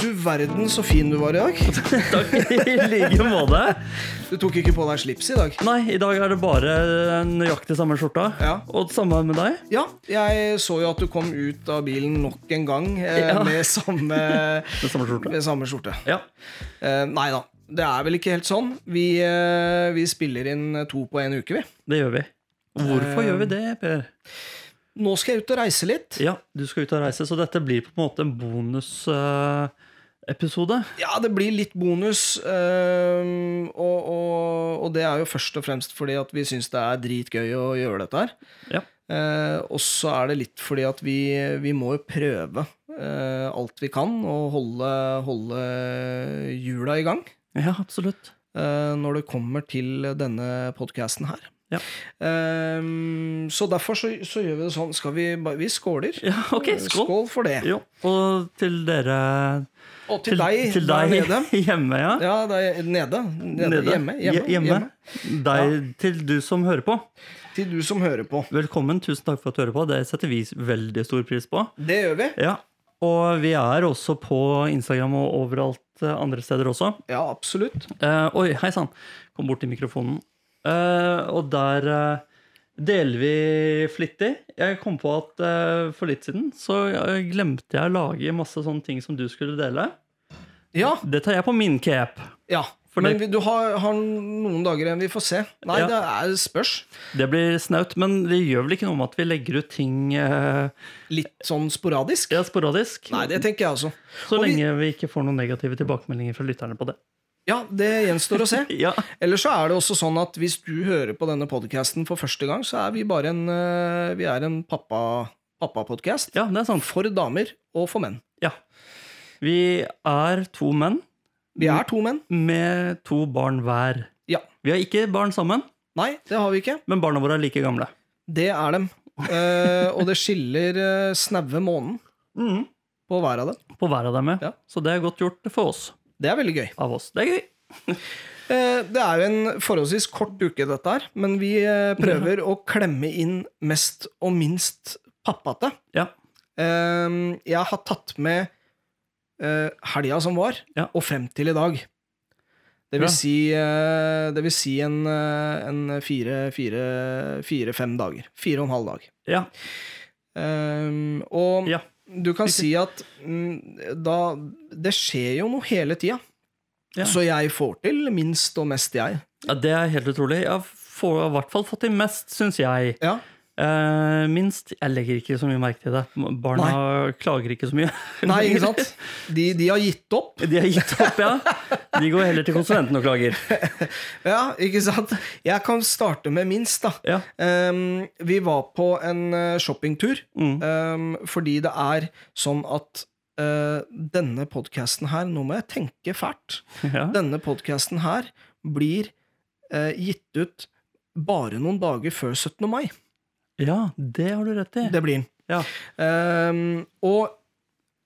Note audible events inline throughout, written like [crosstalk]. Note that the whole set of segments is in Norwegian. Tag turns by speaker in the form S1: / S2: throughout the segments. S1: Du verden så fin du var i dag.
S2: Takk [laughs] i like måte.
S1: Du tok ikke på deg slips i dag.
S2: Nei, i dag er det bare nøyaktig samme skjorta.
S1: Ja.
S2: Og samme med deg.
S1: Ja, jeg så jo at du kom ut av bilen nok en gang eh,
S2: Ja.
S1: med samme
S2: Med samme skjorte.
S1: Med samme skjorte.
S2: Ja.
S1: Eh, nei da. Det er vel ikke helt sånn. Vi, eh, vi spiller inn to på en uke, vi.
S2: Det gjør vi. Hvorfor
S1: Eh.
S2: gjør vi det, Per?
S1: Nå skal jeg ut og reise litt.
S2: Ja, du skal ut og reise, så dette blir på en måte en eh, bonusepisode.
S1: Ja, det blir litt bonus. eh, og, og, og det er jo først og fremst fordi at vi syns det er dritgøy å gjøre dette her.
S2: Ja.
S1: Eh, og så er det litt fordi at vi, vi må jo prøve eh, alt vi kan, og holde, holde hjula i gang.
S2: ja, absolutt.
S1: eh, når det kommer til denne podkasten her.
S2: Ja.
S1: Ehm, så derfor så, så gjør vi det sånn. Skal vi, ba- vi skåler.
S2: Ja, ok,
S1: Eh,
S2: skål.
S1: for det.
S2: Jo, og til dere
S1: Og til, deg
S2: til
S1: der
S2: deg
S1: nede.
S2: [laughs] hjemme, ja.
S1: Ja, deg nede. nede.
S2: Nede.
S1: Hjemme. Hjemme,
S2: Hje-
S1: hjemme.
S2: Deg, Til du som hører på.
S1: Til du som hører på.
S2: Velkommen, tusen takk for at du hører på. Det setter vi veldig stor pris på.
S1: Det gjør vi.
S2: Ja, Og vi er også på Instagram og overalt eh, andre steder også.
S1: Ja, absolutt.
S2: Eh, oi, hei sann. Kom bort til mikrofonen. Eh, og der eh, deler vi flittig. Jeg kom på at eh, for litt siden så eh, glemte jeg å lage masse sånne ting som du skulle dele.
S1: Ja.
S2: Det tar jeg på min cape.
S1: ja.
S2: For
S1: Men
S2: det-
S1: vi, du har, har noen dager igjen. Vi får se. Nei,
S2: Ja.
S1: det er spørs.
S2: Det blir snaut, men det gjør vel ikke noe med at vi legger ut ting eh,
S1: Litt sånn sporadisk.
S2: ja, sporadisk?
S1: Nei, det tenker jeg også.
S2: så
S1: og vi-
S2: lenge vi ikke får noen negative tilbakemeldinger fra lytterne på det.
S1: Ja, det gjenstår
S2: [laughs]
S1: å se.
S2: Ja,
S1: Eller så er det også sånn at hvis du hører på denne podcasten for første gang, så er vi bare en, eh, vi er en pappa, pappa-podcast Sånn
S2: ja det er sant.
S1: for damer og for menn.
S2: Ja. Vi er to menn
S1: Vi
S2: Mm.
S1: er to menn.
S2: med to barn hver.
S1: Ja.
S2: Vi har ikke barn sammen,
S1: Nei, det har vi ikke.
S2: men barna våre er like gamle.
S1: Det er
S2: [laughs]
S1: dem. Eh, og det skiller uh, snaue måneden på hver av dem.
S2: På hver av dem, ja.
S1: Mm. Ja.
S2: Så det er godt gjort for oss.
S1: Det er veldig gøy.
S2: Av oss. Det er gøy.
S1: Eh, det er jo en forholdsvis kort uke, dette her, men vi eh, prøver å klemme inn mest og minst pappate.
S2: Ja.
S1: Eh, jeg har tatt med eh, helga som var,
S2: Ja.
S1: og frem til i dag. Det
S2: Bra.
S1: vil si, eh, det vil si en, eh, en fire, fire, fire, fem dager. Fire og en halv dag.
S2: Ja.
S1: Eh, og
S2: ja.
S1: du kan si at mm, da Det skjer jo noe hele tida.
S2: Ja.
S1: Så jeg får til minst og mest, jeg.
S2: ja det er helt utrolig. Jeg har få- i hvert fall fått til mest, syns jeg.
S1: Ja.
S2: Eh, minst. Jeg legger ikke så mye merke til det. Barna klager ikke så mye.
S1: Nei, ikke sant? De, de har gitt opp.
S2: [laughs] De har gitt opp, ja. De går heller til konsulenten og klager.
S1: Ja, ikke sant? Jeg kan starte med minst, da.
S2: Ja.
S1: Um, vi var på en eh, shoppingtur, um, fordi det er sånn at eh, denne podkasten her Nå må jeg tenke fælt.
S2: Ja.
S1: Denne podkasten her blir eh, gitt ut bare noen dager før 17. mai.
S2: ja, det har du rett i.
S1: Det blir den.
S2: Ja.
S1: Um, og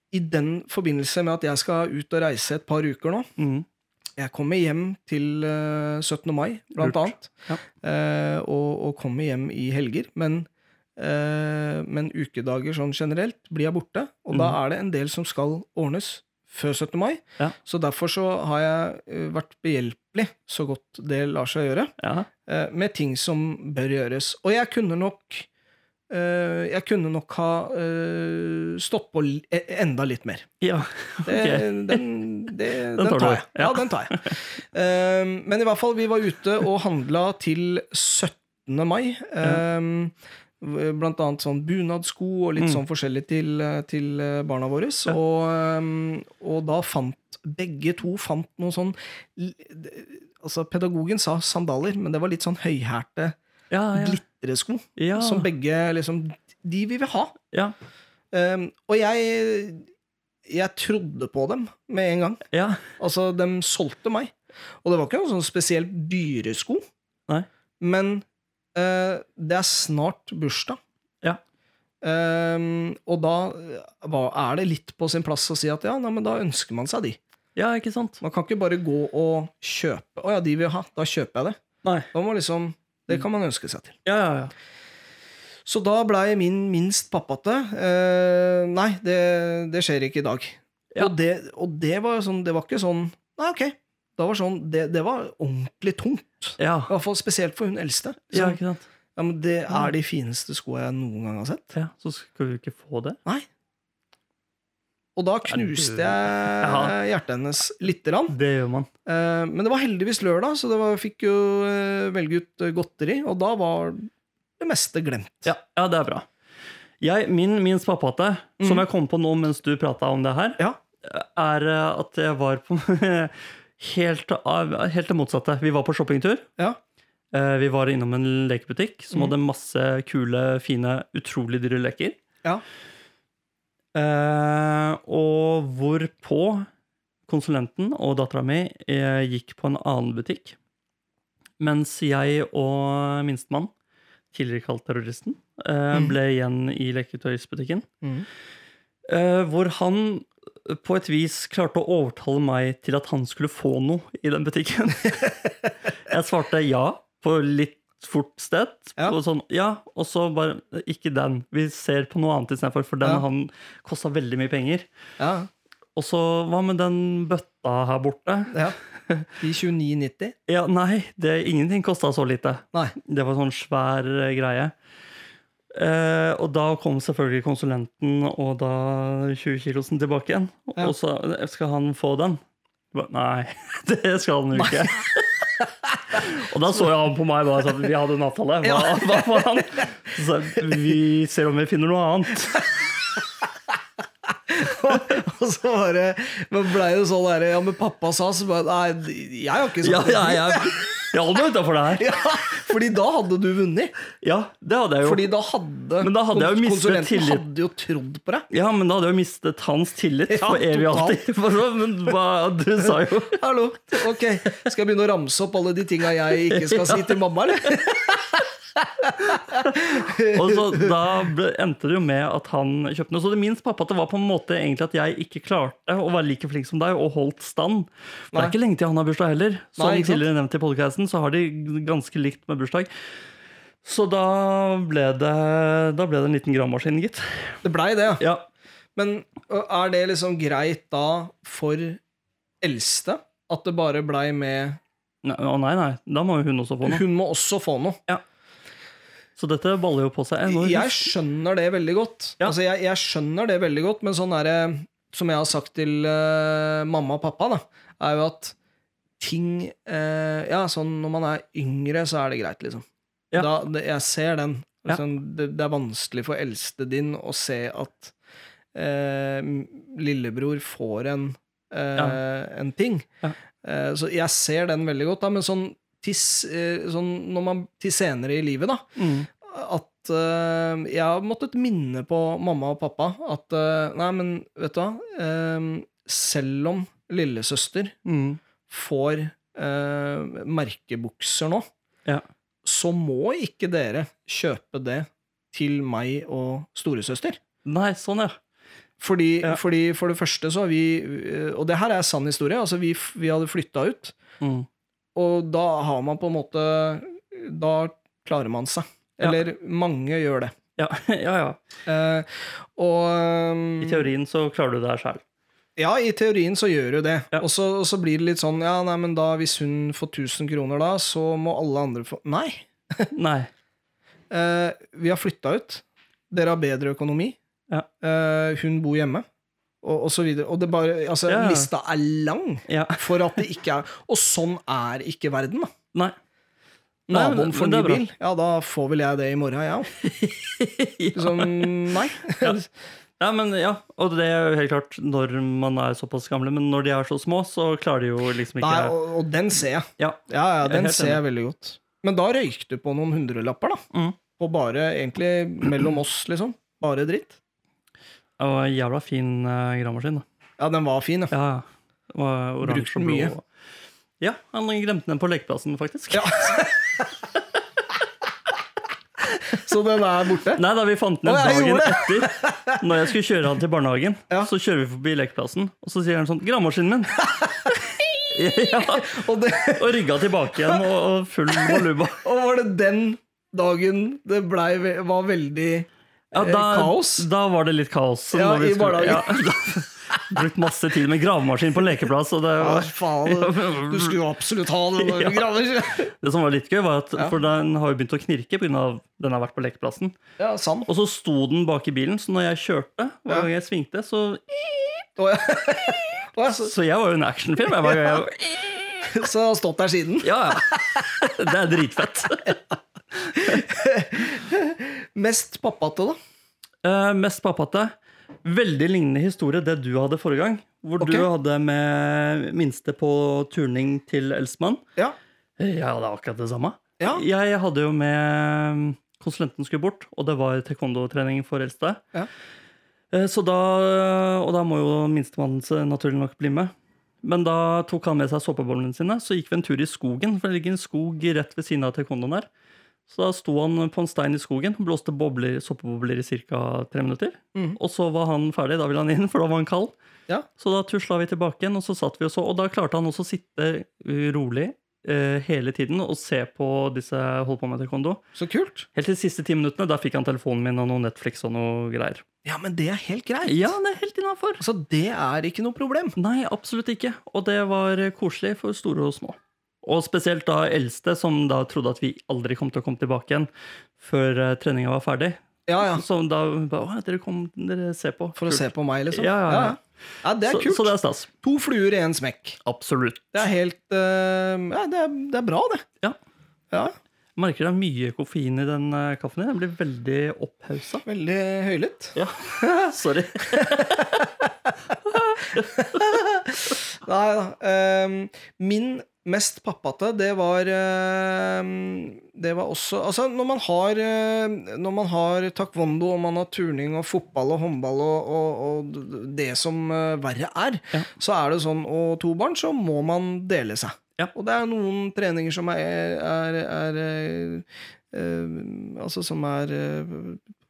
S1: i den forbindelse med at jeg skal ut og reise et par uker nå,
S2: Mm.
S1: jeg kommer hjem til eh, 17. mai, blant
S2: Lurt.
S1: annet.
S2: Ja.
S1: Eh, og, og kommer hjem i helger. Men, eh, men ukedager sånn generelt blir jeg borte. Og da er det en del som skal ordnes før 17. mai.
S2: Mm. Ja.
S1: Så derfor så har jeg eh, vært behjelpelig, så godt det lar seg gjøre,
S2: Ja.
S1: eh, med ting som bør gjøres. Og jeg kunne nok eh, jeg kunne nok ha eh, stått på l- e- enda litt mer.
S2: ja.
S1: Det,
S2: Ok.
S1: den, det, [laughs] den, tar
S2: du.
S1: jeg. Ja,
S2: Ja.
S1: den tar [laughs] jeg. Um, men i hvert fall, vi var ute og handla til 17. mai. Um, Blant annet sånn bunadsko og litt sånn forskjellig til, til eh, barna våre. Og, um, og da fant begge to fant noe sånn l- Altså, pedagogen sa sandaler, men det var litt sånn høyhælte
S2: Ja, ja.
S1: glitresko
S2: Ja.
S1: som begge liksom De vi vil ha.
S2: ja.
S1: Um, og jeg jeg trodde på dem med en gang.
S2: ja.
S1: Altså, de solgte meg. Og det var ikke noen sånn spesielt dyre sko.
S2: Nei.
S1: Men eh, det er snart bursdag.
S2: Ja.
S1: Um, og da eh, hva- er det litt på sin plass å si at ja, nei, men da ønsker man seg de.
S2: Ja, ikke sant?
S1: Man kan ikke bare gå og kjøpe. Å ja, de vil jeg ha. Da kjøper jeg det.
S2: Nei.
S1: Da må liksom, det kan man ønske seg til.
S2: Ja, ja, ja.
S1: Så da blei min minst pappate. Eh, nei, det, det skjer ikke i dag.
S2: Ja.
S1: Og, det, og det var jo sånn Det var ikke sånn Nei, ok. Det var, sånn, det, det var ordentlig tungt.
S2: Ja,
S1: I hvert fall spesielt for hun eldste.
S2: ja
S1: Som,
S2: ikke sant?
S1: ja, men det er de fineste skoa jeg noen gang har sett.
S2: Ja, så skal vi ikke få det?
S1: Nei. Og da knuste jeg hjertet hennes lite grann.
S2: Det gjør man.
S1: Eh, Men det var heldigvis lørdag, så det var, fikk jo eh, velge ut eh, godteri. Og da var det meste glemt.
S2: Ja, ja det er bra. Jeg, min min spapate, som
S1: Mhm.
S2: jeg kom på nå mens du prata om det her,
S1: Ja.
S2: er eh, at jeg var på [laughs] helt, av- helt det motsatte. Vi var på shoppingtur.
S1: Ja.
S2: Eh, Vi var innom en lekebutikk som
S1: Mhm.
S2: hadde masse kule, fine, utrolig dyre leker.
S1: Ja.
S2: Eh, og hvorpå konsulenten og dattera mi eh, gikk på en annen butikk. Mens jeg og minstemann, tidligere kalt terroristen, eh,
S1: Mhm.
S2: ble igjen i leketøysbutikken.
S1: Mm.
S2: Eh, hvor han eh, på et vis klarte å overtale meg til at han skulle få noe i den
S1: [laughs]
S2: butikken. jeg svarte ja på litt fort sted.
S1: Ja.
S2: Og sånn, ja, og så bare Ikke den. Vi ser på noe annet istedenfor, for den
S1: Ja.
S2: han kosta veldig mye penger.
S1: Ja,
S2: Og så hva med den bøtta her borte?
S1: ja. I 29,90.
S2: Ja, nei, det, ingenting kosta så lite.
S1: Nei.
S2: Det var sånn svær eh, greie. Eh, og da kom selvfølgelig konsulenten og da 20-kilosen tilbake igjen.
S1: Ja.
S2: Og så eh, skal han få den. Jeg ba, Nei, [laughs] det skal han jo ikke. [laughs] og da så jo han på meg bare sånn Vi hadde en avtale. Hva,
S1: Ja.
S2: hva faen? Så sa jeg, vi ser om vi finner noe annet.
S1: [laughs] og så bare Men blei det sånn derre Ja, men pappa sa så bare Nei, jeg har ikke
S2: Ja,
S1: sagt
S2: ja, ja. Jeg holder meg utafor det her.
S1: [laughs] Ja, fordi da hadde du vunnet.
S2: Ja, det hadde jeg jo.
S1: Fordi da hadde,
S2: Men da hadde jeg jo mistet
S1: konsulenten
S2: tillit.
S1: hadde jo trodd på deg.
S2: Ja, men da hadde jeg jo mistet hans tillit
S1: Ja,
S2: for evig og
S1: totalt.
S2: alltid. [laughs] For så, men hva, du sa jo
S1: Hallo, ok, Skal jeg begynne å ramse opp alle de tinga jeg ikke skal si til mamma, eller?
S2: Og så da ble, endte det jo med at han kjøpte noe. Så det minst pappa at det var på en måte egentlig at jeg ikke klarte å være like flink som deg og holdt stand. For det
S1: Nei.
S2: er ikke lenge til han har bursdag heller. Som
S1: Nei, ikke sant?
S2: tidligere nevnt i podcasten, så har de ganske likt med bursdag. Så da ble det, da ble det en liten gravemaskin, gitt.
S1: [laughs] Det blei det, ja.
S2: Ja.
S1: Men ø, er det liksom greit da for eldste at det bare blei med
S2: Nei, å nei, nei. Da må jo hun også få noe.
S1: Hun må også få noe.
S2: Så dette baller jo på seg ennå.
S1: Jeg skjønner det veldig godt.
S2: Ja.
S1: Altså, jeg, jeg skjønner det veldig godt, men sånn er det Som jeg har sagt til eh, mamma og pappa, da, er jo at ting eh, Ja, sånn når man er yngre, så er det greit, liksom.
S2: Ja.
S1: Da, det, jeg ser den.
S2: Ja.
S1: Liksom, det, det er vanskelig for eldste din å se at eh, m- lillebror får en, eh, en ting.
S2: Ja.
S1: Eh, så jeg ser den veldig godt, da, men sånn, til, s- eh, sånn når man, til senere i livet, da,
S2: Mm.
S1: at eh, jeg har måttet minne på mamma og pappa at eh, Nei, men vet du hva? Eh, selv om lillesøster
S2: Mm.
S1: får eh, merkebukser nå,
S2: Ja.
S1: så må ikke dere kjøpe det til meg og storesøster.
S2: Nei, sånn, ja.
S1: Fordi,
S2: Ja.
S1: fordi for det første så har vi eh, Og det her er sann historie. Altså, vi, f- vi hadde flytta ut,
S2: Mm.
S1: og da har man på en måte Da klarer man seg.
S2: Ja.
S1: Eller mange gjør det.
S2: Ja, [laughs] ja, ja.
S1: Eh, og um,
S2: I teorien så klarer du det her sjøl.
S1: Ja, i teorien så gjør du det.
S2: Ja.
S1: Og, så, og så blir det litt sånn Ja, nei, men da hvis hun får 1000 kroner, da, så må alle andre få Nei!
S2: Nei.
S1: Eh, vi har flytta ut. Dere har bedre økonomi.
S2: Ja.
S1: Eh, hun bor hjemme. Og, og så videre. Og det bare Altså,
S2: Ja, ja.
S1: lista er lang
S2: Ja.
S1: for at det ikke er Og sånn er ikke verden, da.
S2: Nei. Nei, men-
S1: Naboen får
S2: men
S1: ny
S2: det er bra.
S1: bil. Ja, da får vel jeg det i morgen, jeg òg.
S2: [laughs]
S1: Liksom, nei.
S2: Ja. Ja, men ja, og det er jo helt klart når man er såpass gamle, men når de er så små, så klarer de jo liksom ikke
S1: nei og, og den ser jeg.
S2: Ja,
S1: Ja, ja,
S2: Jeg er
S1: den
S2: helt
S1: ser jeg veldig godt. Men da røyk du på noen hundrelapper, da.
S2: Mm.
S1: På bare, egentlig, mellom oss, liksom. Bare dritt.
S2: det var en jævla fin uh, gravemaskin, da.
S1: Ja, den var fin, ja.
S2: Ja, det var
S1: Brukte
S2: oransje
S1: den
S2: og blå.
S1: mye.
S2: Ja, han glemte den på lekeplassen, faktisk.
S1: Ja. Så den er borte.
S2: Nei da, vi fant den
S1: Å, jeg
S2: dagen
S1: gjorde
S2: etter. Når jeg skulle kjøre han til barnehagen,
S1: [laughs] Ja.
S2: så kjører vi forbi lekeplassen, og så sier han sånn
S1: [laughs]
S2: 'Gravemaskinen min'. [laughs] ja,
S1: Og, det,
S2: og rygga tilbake igjen, og,
S1: [laughs]
S2: og full baluba.
S1: og var det den dagen det blei, ve- var veldig
S2: Ja, da,
S1: Eh, kaos.
S2: Da var det litt kaos.
S1: Ja,
S2: når vi
S1: i
S2: skulle-
S1: barnehagen.
S2: da- [laughs] Brukt masse tid med gravemaskin på en lekeplass. Og det,
S1: Ja,
S2: var,
S1: faen, du skulle jo absolutt ha den når du graver.
S2: det som var litt gøy, var at
S1: Ja.
S2: for den har jo begynt å knirke pga. den har vært på lekeplassen.
S1: Ja, sant.
S2: Og så sto den bak i bilen, så når jeg kjørte, hver
S1: Ja.
S2: gang jeg svingte, så
S1: Å, ja. Å, ja, så,
S2: Så jeg var jo en actionfilm. Jeg var, jo-
S1: så har han stått der siden.
S2: ja, ja. Det er dritfett.
S1: [laughs] Mest pappate, da.
S2: Eh, mest pappate. Veldig lignende historie det du hadde forrige gang. Hvor
S1: Ok.
S2: du hadde med minste på turning til Elsmann.
S1: Ja.
S2: Jeg hadde akkurat det samme.
S1: Ja.
S2: Jeg hadde jo med Konsulenten skulle bort, og det var taekwondo-trening for eldste.
S1: Ja.
S2: Eh, Så da, eh, og da må jo minstemann eh, naturlig nok bli med. Men da tok han med seg såpebollene sine, så gikk vi en tur i skogen. For det ligger en skog rett ved siden av taekwondoen der. Så da sto han på en stein i skogen og blåste bobler, såpebobler i ca. tre minutter.
S1: Mhm.
S2: Og så var han ferdig, da ville han inn, [laughs] for da var han kald.
S1: Ja.
S2: Så da tusla vi tilbake igjen, og så satt vi og så. Og da klarte han også å sitte eh, rolig eh, hele tiden og se på disse holdt på med taekwondo.
S1: Så kult.
S2: Helt til de siste ti minuttene, da fikk han telefonen min og noe Netflix og noe greier.
S1: Ja, men det er helt greit.
S2: Ja, det er helt innafor.
S1: Altså, det er ikke noe problem.
S2: Nei, absolutt ikke. Og det var koselig for store og små. Og spesielt da eldste, som da trodde at vi aldri kom til å komme tilbake igjen før eh, treninga var ferdig.
S1: Ah, Ja, ja.
S2: Som da bare Å, dere kom, dere ser på.
S1: For å se på meg, liksom.
S2: Ja, ja, ja.
S1: Ja, det er
S2: så,
S1: kult.
S2: Så det er stas.
S1: To fluer i én smekk.
S2: Absolutt.
S1: Det er helt eh, Ja, det er, det er bra, det.
S2: Ja.
S1: Ja,
S2: Merker det er mye koffein i den eh, kaffen din. Den blir veldig opphausa.
S1: Veldig høylytt.
S2: Ja, [laughs] sorry.
S1: Nei da. ehm, min mest pappate, det var ehm, Det var også Altså, når man har eh, Når man har taekwondo, og man har turning og fotball og håndball og, og, og det som eh, verre er,
S2: Ja.
S1: så er det sånn Og to barn, så må man dele seg.
S2: Ja.
S1: Og det er noen treninger som er, er, er, eh, eh, Altså som er eh,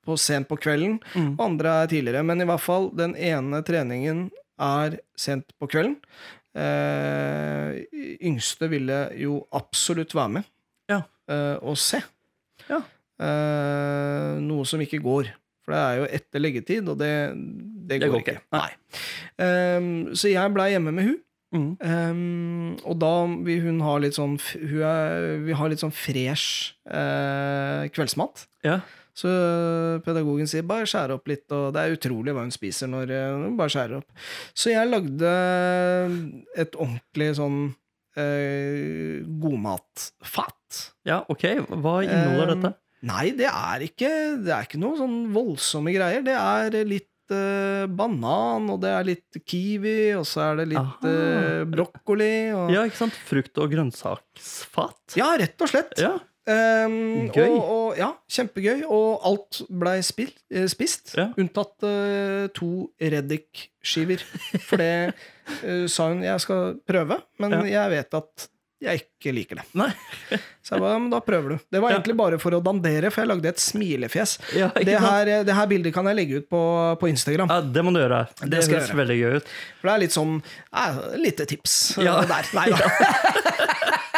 S1: på sent på kvelden,
S2: Mm.
S1: og andre er tidligere. Men i hvert fall, den ene treningen er sent på kvelden. Eh, yngste ville jo absolutt være med
S2: Ja.
S1: eh, og se.
S2: Ja.
S1: Eh, noe som ikke går. For det er jo etter leggetid, og det, det, går, ikke.
S2: Nei.
S1: Eh, så jeg blei hjemme med hun.
S2: Mm.
S1: Ehm, og da vil hun ha litt sånn f- hun er, Vi har litt sånn fresh eh, kveldsmat.
S2: Ja.
S1: Så pedagogen sier 'bare skjære opp litt', og det er utrolig hva hun spiser når eh, hun bare skjærer opp. Så jeg lagde et ordentlig sånn eh, godmatfat.
S2: ja, ok. Hva inneholder
S1: Ehm,
S2: dette?
S1: Nei, det er ikke Det er ikke noe sånn voldsomme greier. Det er litt eh, banan, og det er litt kiwi, og så er det litt
S2: Aha.
S1: eh, brokkoli. Og...
S2: Ja, ikke sant? Frukt- og grønnsaksfat?
S1: Ja, rett og slett.
S2: Ja.
S1: Ehm,
S2: Gøy.
S1: Og, og, ja, kjempegøy. Og alt blei spil- eh, spist,
S2: Ja.
S1: unntatt eh, to Reddik-skiver. For det eh, sa hun jeg skal prøve, men jeg vet at jeg ikke liker det.
S2: Nei.
S1: Så jeg bare, ja, men da prøver du. Det var
S2: Ja.
S1: egentlig bare for å dandere, for jeg lagde et smilefjes.
S2: Ja, ikke
S1: Det
S2: sant?
S1: her, eh, det her bildet kan jeg legge ut på, på Instagram.
S2: Ja, det må du gjøre. Det,
S1: Det skal jeg
S2: høres veldig gøy ut.
S1: For det er litt sånn eh, lite tips
S2: Ja.
S1: eh, der. Nei, da.
S2: [laughs]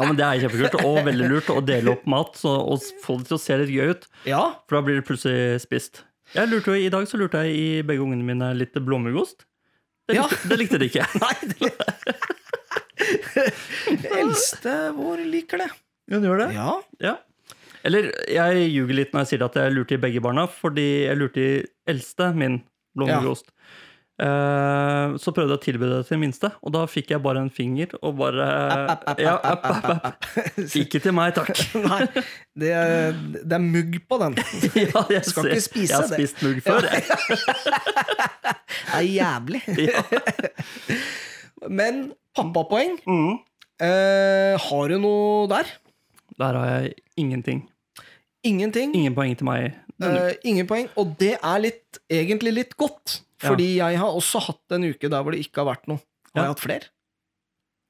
S2: Ja, men Det er kjempekult og veldig lurt å dele opp mat så, og få det til å se litt gøy ut.
S1: Ja.
S2: For da blir det plutselig spist. Jeg lurte jo, I dag så lurte jeg i begge ungene mine litt blåmuggost. Det,
S1: Ja.
S2: likte- det likte de [laughs] ikke.
S1: Nei, det Eldste vår liker det.
S2: Hun gjør det?
S1: Ja.
S2: Ja. Eller jeg ljuger litt når jeg sier at jeg lurte i begge barna, fordi jeg lurte i eldste min blåmuggost. Eh, Så prøvde jeg å tilby det til den minste, og da fikk jeg bare en finger og bare
S1: App, app, app,
S2: ja,
S1: app,
S2: app, app, app. Ikke til meg, takk.
S1: Nei, [laughs] det er, det er mugg på den.
S2: [laughs] Ja, jeg
S1: Skal
S2: ser-
S1: ikke spise
S2: Jeg har
S1: det.
S2: spist mugg før. jeg.
S1: [laughs] Det er jævlig.
S2: Ja.
S1: Men pappapoeng,
S2: Mm.
S1: eh, har du noe der?
S2: Der har jeg ingenting.
S1: Ingenting.
S2: Ingen poeng til meg. denne
S1: Eh, ingen poeng. Og det er litt, egentlig litt godt,
S2: Ja.
S1: fordi jeg har også hatt en uke der hvor det ikke har vært noe. Har
S2: Ja.
S1: jeg hatt flere?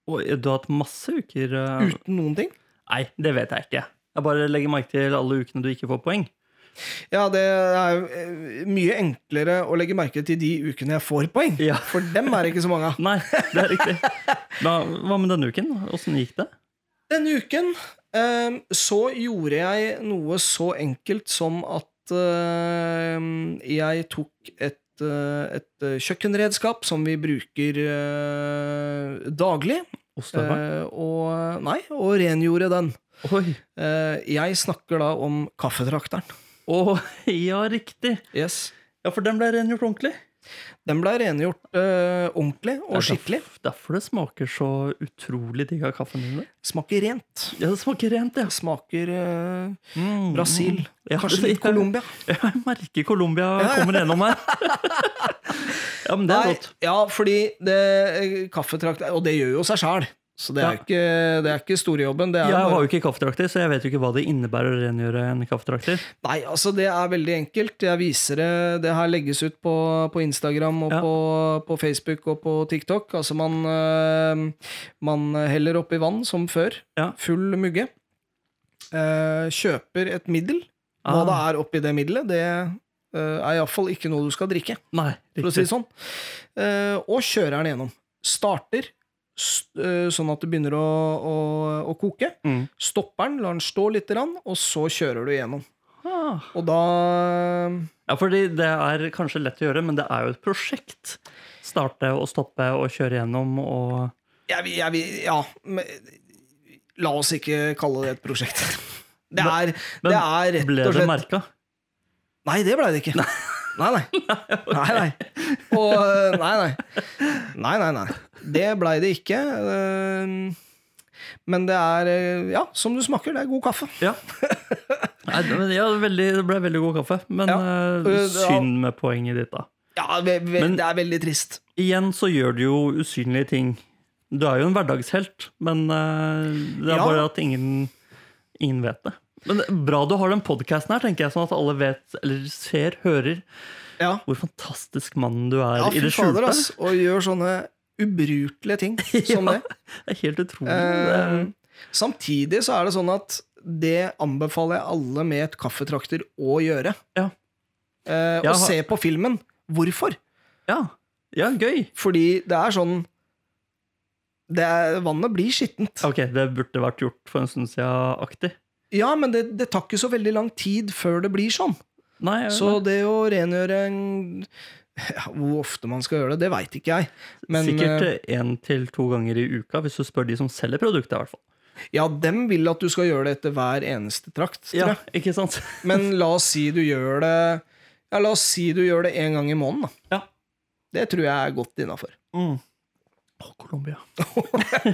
S2: Oi, Du har hatt masse uker eh,
S1: Uten noen ting?
S2: Nei, det vet jeg ikke. Jeg bare legger merke til alle ukene du ikke får poeng.
S1: Ja, det er jo eh, mye enklere å legge merke til de ukene jeg får poeng.
S2: Ja.
S1: For dem er det ikke så mange av.
S2: [laughs] Nei, det
S1: [laughs]
S2: er riktig. Da, hva med denne uken? Åssen gikk det?
S1: ehm, Denne uken eh, så gjorde jeg noe så enkelt som at eh, jeg tok et, eh, et eh, kjøkkenredskap som vi bruker eh, daglig.
S2: Ostehøvel?
S1: eh, og, nei, og rengjorde den.
S2: Oi!
S1: Eh, jeg snakker da om kaffetrakteren.
S2: Å, [laughs] ja, riktig!
S1: Yes.
S2: Ja, for den ble rengjort ordentlig.
S1: Den ble rengjort eh, ordentlig og
S2: Det er
S1: skikkelig.
S2: derf- Derfor det smaker så utrolig digg av kaffen din. det.
S1: Smaker rent.
S2: Ja, det smaker rent, ja.
S1: Smaker eh,
S2: Mm,
S1: Brasil.
S2: mm. [laughs] Ja,
S1: Kanskje
S2: det-
S1: litt Colombia.
S2: Jeg, jeg merker Colombia kommer gjennom her.
S1: [laughs]
S2: ja, men det er
S1: Nei,
S2: godt.
S1: ja, fordi det, eh, kaffetrakt Og det gjør jo seg sjæl. Så det er,
S2: Ja.
S1: ikke, det er ikke storjobben. Det er
S2: Jeg
S1: bare-
S2: har jo ikke kaffetrakter, så jeg vet jo ikke hva det innebærer å rengjøre en kaffetrakter.
S1: Nei, altså det er veldig enkelt. Jeg viser det. Det her legges ut på, på Instagram og
S2: Ja.
S1: på, på Facebook og på TikTok. Altså man, øh, man heller oppi vann som før.
S2: Ja.
S1: Full mugge. Eh, kjøper et middel. Hva
S2: Ah.
S1: det er oppi det middelet, det eh, er iallfall ikke noe du skal drikke,
S2: Nei,
S1: for å si det sånn. Eh, og kjører den gjennom. Starter s- eh, sånn at det begynner å, å, å koke.
S2: Mm.
S1: Stopper den, lar den stå litt, og så kjører du gjennom.
S2: Ah.
S1: Og da eh,
S2: Ja, fordi det er kanskje lett å gjøre, men det er jo et prosjekt. Starte og stoppe og kjøre gjennom og
S1: jeg, vil- jeg, vil- Ja. Men, la oss ikke kalle det et prosjekt. [laughs] Det er, det er rett
S2: Ble
S1: og
S2: det
S1: slett
S2: merka?
S1: Nei, det blei det ikke. Nei,
S2: [laughs]
S1: nei. Nei, nei. Og, øh, nei, nei. Nei, nei, nei. Det blei det ikke. øh, Men det er øh, Ja, som du smaker, det er god kaffe. [laughs]
S2: Ja. Nei, det- men ja, veldig, det ble veldig god kaffe. Men
S1: Ja.
S2: eh,
S1: Eh, det-
S2: synd med poenget ditt, da.
S1: Ja, ve ve
S2: Men-
S1: Det er veldig trist.
S2: Igjen så gjør du jo usynlige ting. Du er jo en hverdagshelt, men eh, det er
S1: Ja.
S2: bare at ingen, ingen vet det. Men det er bra du har den podkasten her, tenker jeg, sånn at alle vet, eller ser, hører,
S1: Ja,
S2: hvor fantastisk mann du er
S1: ja
S2: i
S1: fy
S2: det skjulte.
S1: fader, ass. Og gjør sånne ubrukelige ting som
S2: [laughs] Ja.
S1: det.
S2: Det er helt utrolig. Det
S1: Eh,
S2: er-
S1: samtidig så er det sånn at det anbefaler jeg alle med et kaffetrakter å gjøre.
S2: Ja.
S1: Eh, og
S2: Jeg har-
S1: se på filmen. Hvorfor?
S2: ja. ja, gøy.
S1: Fordi det er sånn det er, Vannet blir skittent.
S2: Ok, det burde vært gjort for en stund siden-aktig.
S1: Ja, men det, det tar ikke så veldig lang tid før det blir sånn.
S2: Nei, jeg-
S1: Så det å rengjøre en ja, Hvor ofte man skal gjøre det, det veit ikke jeg. Men eh,
S2: sikkert én til to ganger i uka, hvis du spør de som selger produktet, i hvert fall.
S1: eh, ja, dem vil at du skal gjøre det etter hver eneste trakt. Tror
S2: Ja,
S1: jeg.
S2: ikke sant?
S1: Men la oss si du gjør det Ja, la oss si du gjør det en gang i måneden, da.
S2: Ja.
S1: Det tror jeg er godt innafor.
S2: Mm. Å, Colombia.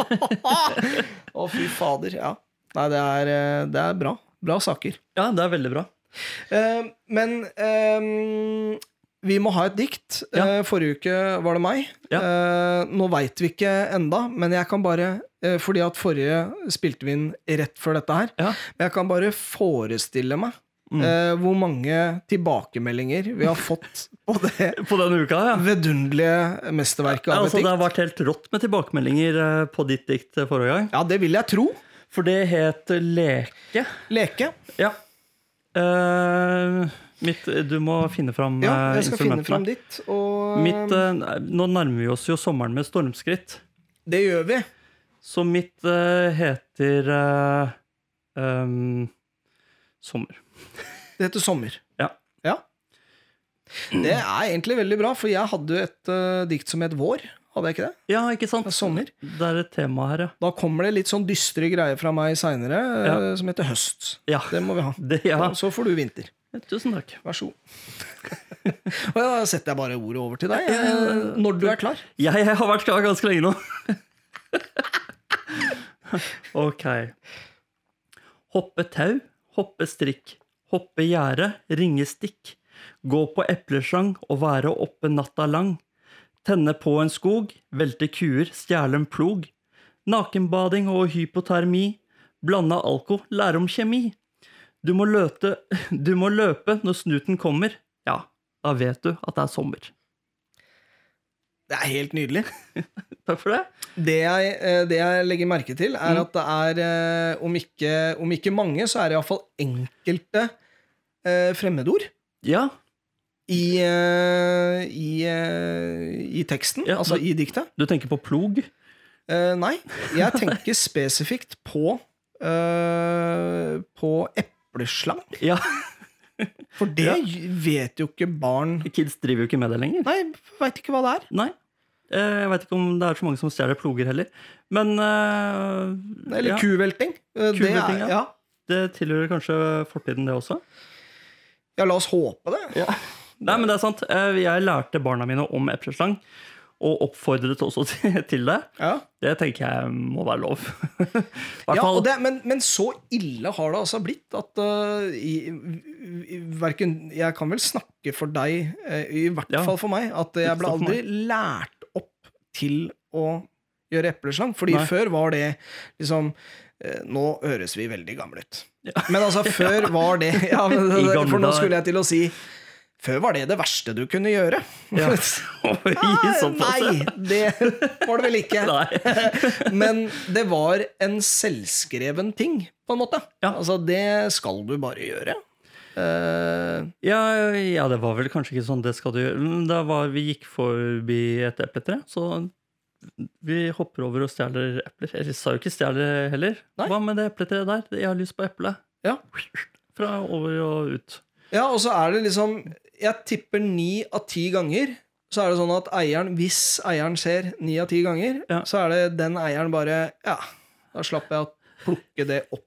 S1: Å, fy fader. Ja. Nei, det er, eh, det er bra. Bra saker.
S2: Ja, det er veldig bra.
S1: Eh, men eh, vi må ha et dikt.
S2: Ja.
S1: Eh, forrige uke var det meg.
S2: Ja.
S1: Eh, nå veit vi ikke enda, men jeg kan bare eh, Fordi at forrige spilte vi inn rett før dette her.
S2: Ja.
S1: Men jeg kan bare forestille meg
S2: Mm.
S1: eh, hvor mange tilbakemeldinger vi har fått [laughs] på det
S2: På denne uka, ja.
S1: vidunderlige mesterverket av
S2: altså,
S1: et
S2: det
S1: dikt.
S2: har vært helt rått med tilbakemeldinger eh, på ditt dikt eh, forrige gang.
S1: Ja, det vil jeg tro.
S2: For det het Leke.
S1: Leke.
S2: Ja. Eh, mitt, du må finne fram
S1: Ja,
S2: eh,
S1: jeg skal finne
S2: instrumentene.
S1: fram ditt. Og um,
S2: Mitt, eh, nå nærmer vi oss jo sommeren med stormskritt.
S1: det gjør vi.
S2: Så mitt eh, heter eh, ehm, Sommer.
S1: Det heter Sommer.
S2: Ja.
S1: Ja. Det er egentlig veldig bra, for jeg hadde jo et eh, dikt som het Vår. Hadde jeg ikke det?
S2: Ja, ikke sant?
S1: Det er sommer.
S2: Det er et tema her,
S1: Da kommer det litt sånn dystre greier fra meg seinere, eh,
S2: Ja.
S1: som heter Høst.
S2: ja.
S1: Det må vi ha.
S2: Det,
S1: [laughs]
S2: ja.
S1: Og Så får du vinter.
S2: Tusen takk.
S1: Vær [laughs] så god. Og da setter jeg bare ordet over til deg, eh, når du er klar.
S2: Jeg, jeg har vært klar ganske lenge nå. [laughs] ok. Hoppe tau, hoppe strikk, hoppe gjerde, ringe stikk. Gå på epleslang og være oppe natta lang. Tenne på en skog, velte kuer, stjele en plog. Nakenbading og hypotermi. Blande alko, lære om kjemi. Du må, løte, [laughs] du må løpe når snuten kommer. Ja, da vet du at det er sommer.
S1: Det er helt nydelig.
S2: Takk for det.
S1: Det jeg, eh, det jeg legger merke til, er at det er, eh, om ikke, om ikke mange, så er det iallfall enkelte eh, fremmedord
S2: Ja,
S1: i, eh, i, eh, i teksten,
S2: Ja,
S1: altså
S2: men-
S1: i diktet.
S2: Du tenker på [laughs] plog?
S1: Eh, nei, jeg
S2: [laughs]
S1: tenker spesifikt på eh, På epleslang.
S2: Ja.
S1: For det vet jo ikke barn
S2: Kids driver jo ikke med det lenger.
S1: Nei, veit ikke hva det er.
S2: Nei. Eh, Jeg veit ikke om det er så mange som stjeler ploger heller. Men eh,
S1: Eller
S2: ja,
S1: kuvelting. Eh, Det er,
S2: Kuvelting,
S1: ja.
S2: ja. det tilhører kanskje fortiden, det også.
S1: ja, la oss håpe det.
S2: Nei, men det er sant. Eh, Jeg lærte barna mine om epleslang. Og oppfordret også [laughs] til- til det.
S1: Ja.
S2: Det tenker jeg må være lov. [laughs] I
S1: Ja,
S2: hvert fall
S1: og
S2: [laughs]
S1: det, men, men så ille har det altså blitt at eh, i, i, verken, Jeg kan vel snakke for deg, eh, i hvert
S2: Ja.
S1: fall for meg, at jeg ble
S2: sant for
S1: aldri lært opp til å gjøre epleslang. Fordi
S2: Nei.
S1: før var det liksom eh, Nå høres vi veldig gamle ut. Men
S2: [laughs]
S1: altså, før var det ja, men,
S2: I gamle
S1: For nå
S2: dager.
S1: skulle jeg til å si før var det det verste du kunne gjøre. [laughs]
S2: Ja. Oi,
S1: Ah,
S2: såpass, ja.
S1: nei, det var det vel ikke.
S2: [laughs] Nei.
S1: [laughs] Men det var en selvskreven ting, på en måte.
S2: Ja.
S1: Altså, det skal du bare gjøre. Eh,
S2: Ja, ja, det var vel kanskje ikke sånn det skal du gjøre. Men Da var, vi gikk forbi et epletre, så vi hopper over og stjeler epler. Eller sa jo ikke stjeler heller.
S1: Nei.
S2: Hva med det epletreet der? Jeg har lyst på eple.
S1: Ja.
S2: Fra over og ut.
S1: ja, og så er det liksom Jeg tipper ni av ti ganger så er det sånn at eieren, hvis eieren ser ni av ti ganger,
S2: Ja.
S1: så er det den eieren bare Ja, da slapp jeg å plukke det opp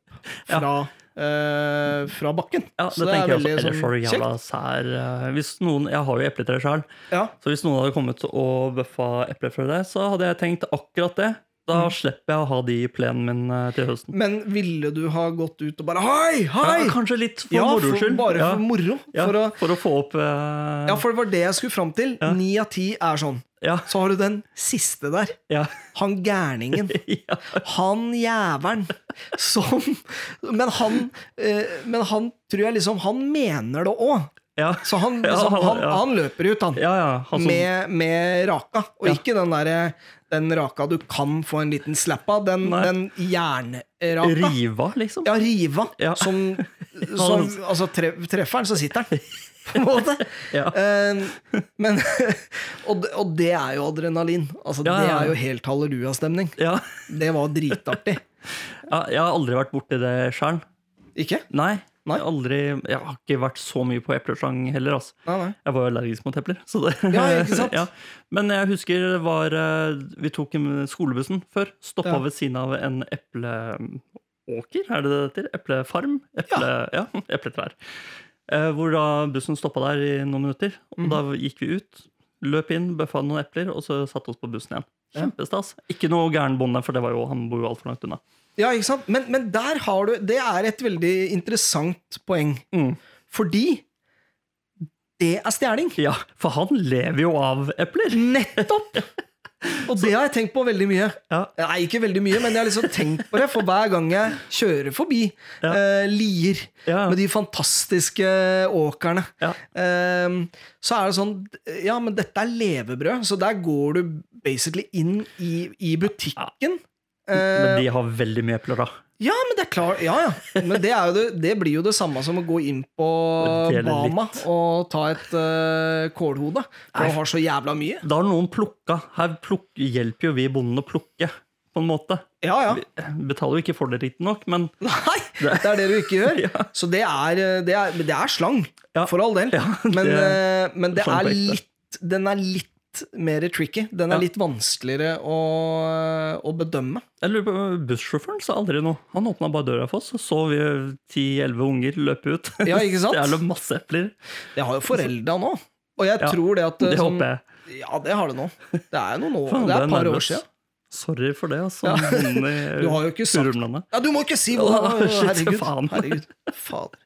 S2: Ja.
S1: fra, eh, fra bakken.
S2: Ja, det,
S1: Så det er
S2: tenker jeg også.
S1: veldig
S2: Ellers
S1: sånn
S2: var du jævla sær. eh, Hvis noen, jeg har jo epletre sjøl,
S1: Ja.
S2: så hvis noen hadde kommet og bøffa epler fra deg, så hadde jeg tenkt akkurat det. Da
S1: Mm.
S2: slipper jeg å ha de i plenen min eh, til høsten.
S1: Men ville du ha gått ut og bare Hei, hei!
S2: Ja, kanskje litt for
S1: Ja,
S2: moro
S1: for,
S2: skyld.
S1: bare
S2: ja.
S1: for moro.
S2: ja,
S1: For å
S2: for å få opp eh,
S1: Ja, for det var det jeg skulle fram til.
S2: Ja.
S1: Ni av ti er sånn.
S2: ja,
S1: Så har du den siste der.
S2: ja, [laughs]
S1: Han gærningen.
S2: ja.
S1: Han jævelen. Som Men han eh, Men han tror jeg liksom Han mener det òg.
S2: Ja,
S1: Så han,
S2: Ja,
S1: liksom, han,
S2: ja.
S1: han løper ut, han.
S2: ja, ja. Han som,
S1: Med, med raka. Og
S2: Ja.
S1: ikke den derre den raka du kan få en liten slapp av. Den,
S2: Nei.
S1: den jernraka.
S2: riva, liksom.
S1: Ja, riva.
S2: Ja. [laughs]
S1: Som, som Altså, tre, treffer den, så sitter den. [laughs] På en måte.
S2: Ja.
S1: Eh, men, [laughs] og, det- og det er jo adrenalin. Altså,
S2: Ja,
S1: Det
S2: ja, ja.
S1: er jo helt halleluja-stemning.
S2: Ja.
S1: Det var dritartig.
S2: ja, jeg har aldri vært borti det sjøl.
S1: Ikke?
S2: Nei.
S1: Nei.
S2: Jeg har Aldri, jeg har ikke vært så mye på epleslang heller, altså.
S1: Nei, nei.
S2: Jeg var jo allergisk mot epler. Så det,
S1: Ja, ikke sant?
S2: [laughs] Ja. Men jeg husker det var eh, Vi tok en- skolebussen før. Stoppa
S1: Ja.
S2: ved siden av en epleåker, er det det heter? Eplefarm? Eple, ja. [laughs] Epletrær. Eh, hvor da bussen stoppa der i noen minutter. Og
S1: Mhm.
S2: da gikk vi ut, løp inn, bøffa noen epler, og så satte oss på bussen igjen.
S1: Ja.
S2: Kjempestas. Ikke noe gæren bonde, for det var jo, han bor jo altfor langt unna.
S1: Ja, ikke sant? Men, men der har du Det er et veldig interessant poeng.
S2: Mm.
S1: Fordi det er stjeling.
S2: Ja, For han lever jo av epler! [laughs]
S1: Nettopp! Og det har jeg tenkt på veldig mye.
S2: Ja.
S1: Nei, ikke veldig mye, men jeg har liksom tenkt på det. For hver gang jeg kjører forbi
S2: Ja.
S1: eh, Lier
S2: Ja.
S1: med de fantastiske åkrene,
S2: Ja.
S1: eh, så er det sånn Ja, men dette er levebrød, så der går du basically inn i, i butikken.
S2: Men
S1: Eh,
S2: de har veldig mye epler, da.
S1: ja, men det er klart Ja, ja. Men det, er jo det, det blir jo det samme som å gå inn på
S2: Dele litt.
S1: Bama og ta et eh, kålhode. For du har så jævla mye.
S2: Da har noen plukka. Her plukk- hjelper jo vi bonden å plukke, på en måte.
S1: Ja, ja.
S2: Betaler jo ikke for det riktig nok, men
S1: [laughs] Nei, det er det du ikke
S2: [laughs]
S1: gjør. Så det er, eh, det er, men det er slang,
S2: Ja.
S1: for all del.
S2: [laughs] Ja, det-
S1: men eh, men det
S2: slang
S1: er
S2: på ekte.
S1: litt, den er litt mer tricky. Den
S2: Ja.
S1: er litt vanskeligere å, eh, å bedømme.
S2: jeg lurer på, bussjåføren sa aldri noe. Han åpna bare døra for oss, og så vi ti-elleve unger løpe ut.
S1: Ja, [laughs]
S2: [laughs]
S1: ikke sant?
S2: Stjele masse epler.
S1: Det har jo forelda nå. Og jeg
S2: Ja,
S1: tror det at
S2: Det
S1: sånn-
S2: håper jeg.
S1: Ja, det har det nå. Det er noen år, det
S2: Faen, det
S1: er
S2: er
S1: et par
S2: nervøs.
S1: år siden.
S2: Sorry for det, altså.
S1: Ja.
S2: bonden
S1: [laughs]
S2: i
S1: Du har jo ikke sagt
S2: Sørumlandet.
S1: ja, Du må ikke si hvor
S2: Åh, shit,
S1: Herregud.
S2: faen.
S1: herregud. Fader.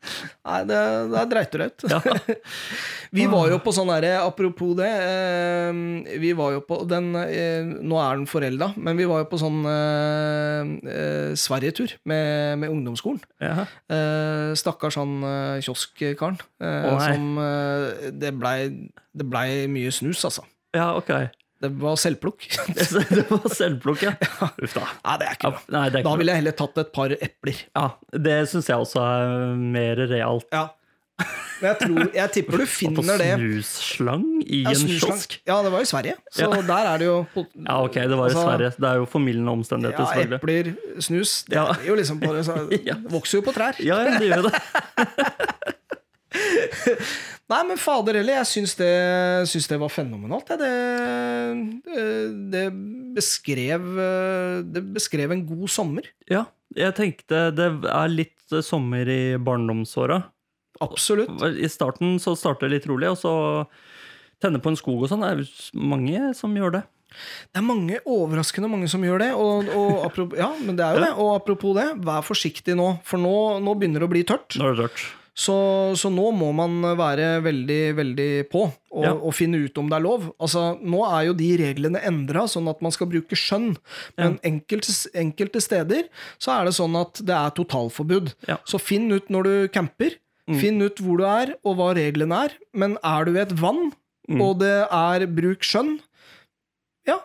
S1: Nei, det, det er dreit og raut.
S2: Ja.
S1: [laughs] Vi var jo på sånn derre Apropos det. eh, Vi var jo på den eh, Nå er den forelda, men vi var jo på sånn eh, eh, Sverigetur med, med ungdomsskolen.
S2: Ja.
S1: Eh, stakkars han eh, kiosk-karen. eh,
S2: Å, nei.
S1: som eh, Det blei det ble mye snus, altså.
S2: ja, ok. [laughs]
S1: Det var selvplukk. [laughs]
S2: Jeg ser- Det var selvplukk, ja. Uff da.
S1: Nei, det er
S2: Ja,
S1: ikke bra.
S2: Nei, det er
S1: Da
S2: ikke bra.
S1: ville jeg heller tatt et par epler.
S2: Ja, det syns jeg også er mer realt.
S1: Ja. Men jeg, tror, jeg tipper du
S2: Å ta
S1: finner det
S2: snusslang i
S1: Ja,
S2: en
S1: snuslang.
S2: kiosk.
S1: Ja, det var i Sverige, så
S2: Ja.
S1: der er det jo på-
S2: Ja, ok, det var i
S1: Altså,
S2: Sverige. Det er jo formildende
S1: Ja,
S2: omstendigheter. selvfølgelig.
S1: epler, snus Det
S2: Ja.
S1: er jo liksom på det, så,
S2: [laughs] Ja.
S1: vokser jo på trær.
S2: Ja, ja, det gjør jo det.
S1: Nei, men fader heller, jeg syns det, syns det var fenomenalt. jeg. Det, det, beskrev, eh, det beskrev en god sommer.
S2: Ja, jeg tenkte det er litt eh, sommer i barndomsåra.
S1: Absolutt.
S2: I starten så starter det litt rolig, og så tenne på en skog og sånn. Det er jo mange som gjør det.
S1: Det er mange, overraskende mange som gjør det. Og, og apropos, ja, men det er jo det. Og apropos det, vær forsiktig nå, for nå, nå begynner det å bli tørt.
S2: Nå er det tørt.
S1: Så, så nå må man være veldig, veldig på og,
S2: Ja.
S1: og finne ut om det er lov. Altså, nå er jo de reglene endra, sånn at man skal bruke skjønn. Men enkelte, enkelte steder så er det sånn at det er totalforbud.
S2: Ja. Mm.
S1: Så finn ut når du camper. Finn ut hvor du er, og hva reglene er. Men er du ved et vann,
S2: Mm.
S1: og det er bruk skjønn, ja,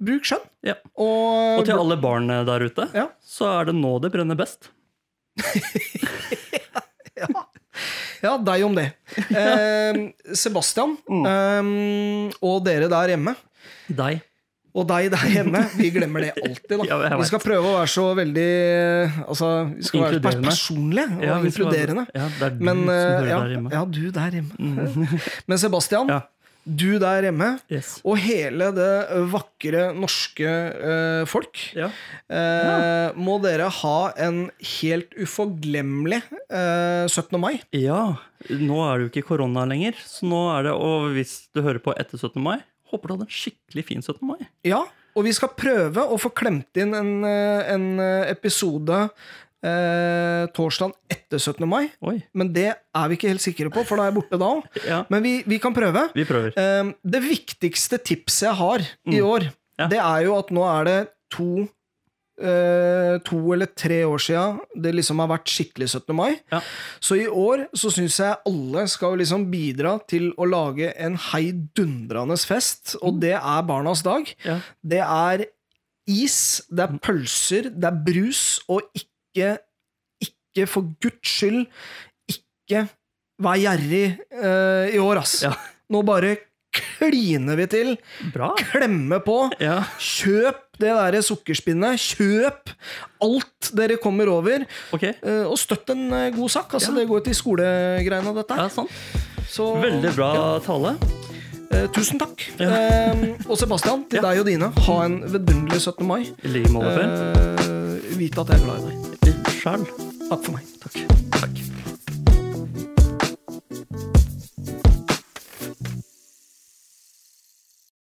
S1: bruk skjønn.
S2: Ja.
S1: Og,
S2: Og til alle barn eh, der ute,
S1: Ja.
S2: så er det nå det brenner best.
S1: Ja. ja, deg om
S2: [laughs]
S1: det. Eh, Sebastian,
S2: Mm.
S1: eh, og dere der hjemme,
S2: Deg.
S1: og deg der hjemme, vi glemmer det alltid, da.
S2: [laughs] Ja, jeg vet.
S1: vi skal prøve å være så veldig Altså, vi skal være pers
S2: Inkluderende.
S1: personlige og
S2: Ja, vi skal-
S1: inkluderende.
S2: Ja, det er du
S1: Men
S2: som
S1: eh,
S2: hører
S1: ja,
S2: der hjemme. Mm.
S1: ja, du der hjemme. [laughs] Men Sebastian,
S2: Ja.
S1: du der hjemme,
S2: Yes.
S1: og hele det vakre norske eh, folk.
S2: Ja.
S1: Eh, må dere ha en helt uforglemmelig eh, 17. mai.
S2: ja. Nå er det jo ikke korona lenger, så nå er det Og hvis du hører på etter 17. mai, håper du hadde en skikkelig fin 17. mai.
S1: Ja, og vi skal prøve å få klemt inn en, eh, en eh, episode eh, torsdagen etter 17. mai.
S2: Oi.
S1: Men det er vi ikke helt sikre på, for da er jeg borte da òg.
S2: Ja.
S1: Men vi, vi kan prøve.
S2: Vi prøver.
S1: Eh, det viktigste tipset jeg har i år,
S2: Mm. Ja.
S1: det er jo at nå er det to eh, to eller tre år sia det liksom har vært skikkelig 17. mai.
S2: Ja.
S1: Så i år så syns jeg alle skal liksom bidra til å lage en heidundrende fest,
S2: Mm.
S1: og det er barnas dag.
S2: Ja.
S1: Det er is, det
S2: Mm.
S1: er pølser, det er brus, og ikke, ikke for guds skyld, ikke vær gjerrig eh, i år, ass.
S2: Ja.
S1: Nå bare kliner vi til,
S2: Bra.
S1: klemmer på.
S2: Ja.
S1: Kjøp det derre sukkerspinnet. Kjøp alt dere kommer over.
S2: Ok.
S1: eh, og støtt en eh, god sak. Altså,
S2: Ja.
S1: Det går til skolegreiene, dette.
S2: Ja,
S1: her.
S2: sant.
S1: Så,
S2: Veldig bra tale.
S1: eh, tusen takk.
S2: Ja.
S1: Eh, og Sebastian, til
S2: Ja.
S1: deg og dine, ha en vidunderlig 17. mai.
S2: I like måte.
S1: Eh, vite at jeg er glad i deg.
S2: Sjæl.
S1: Takk for meg. Takk.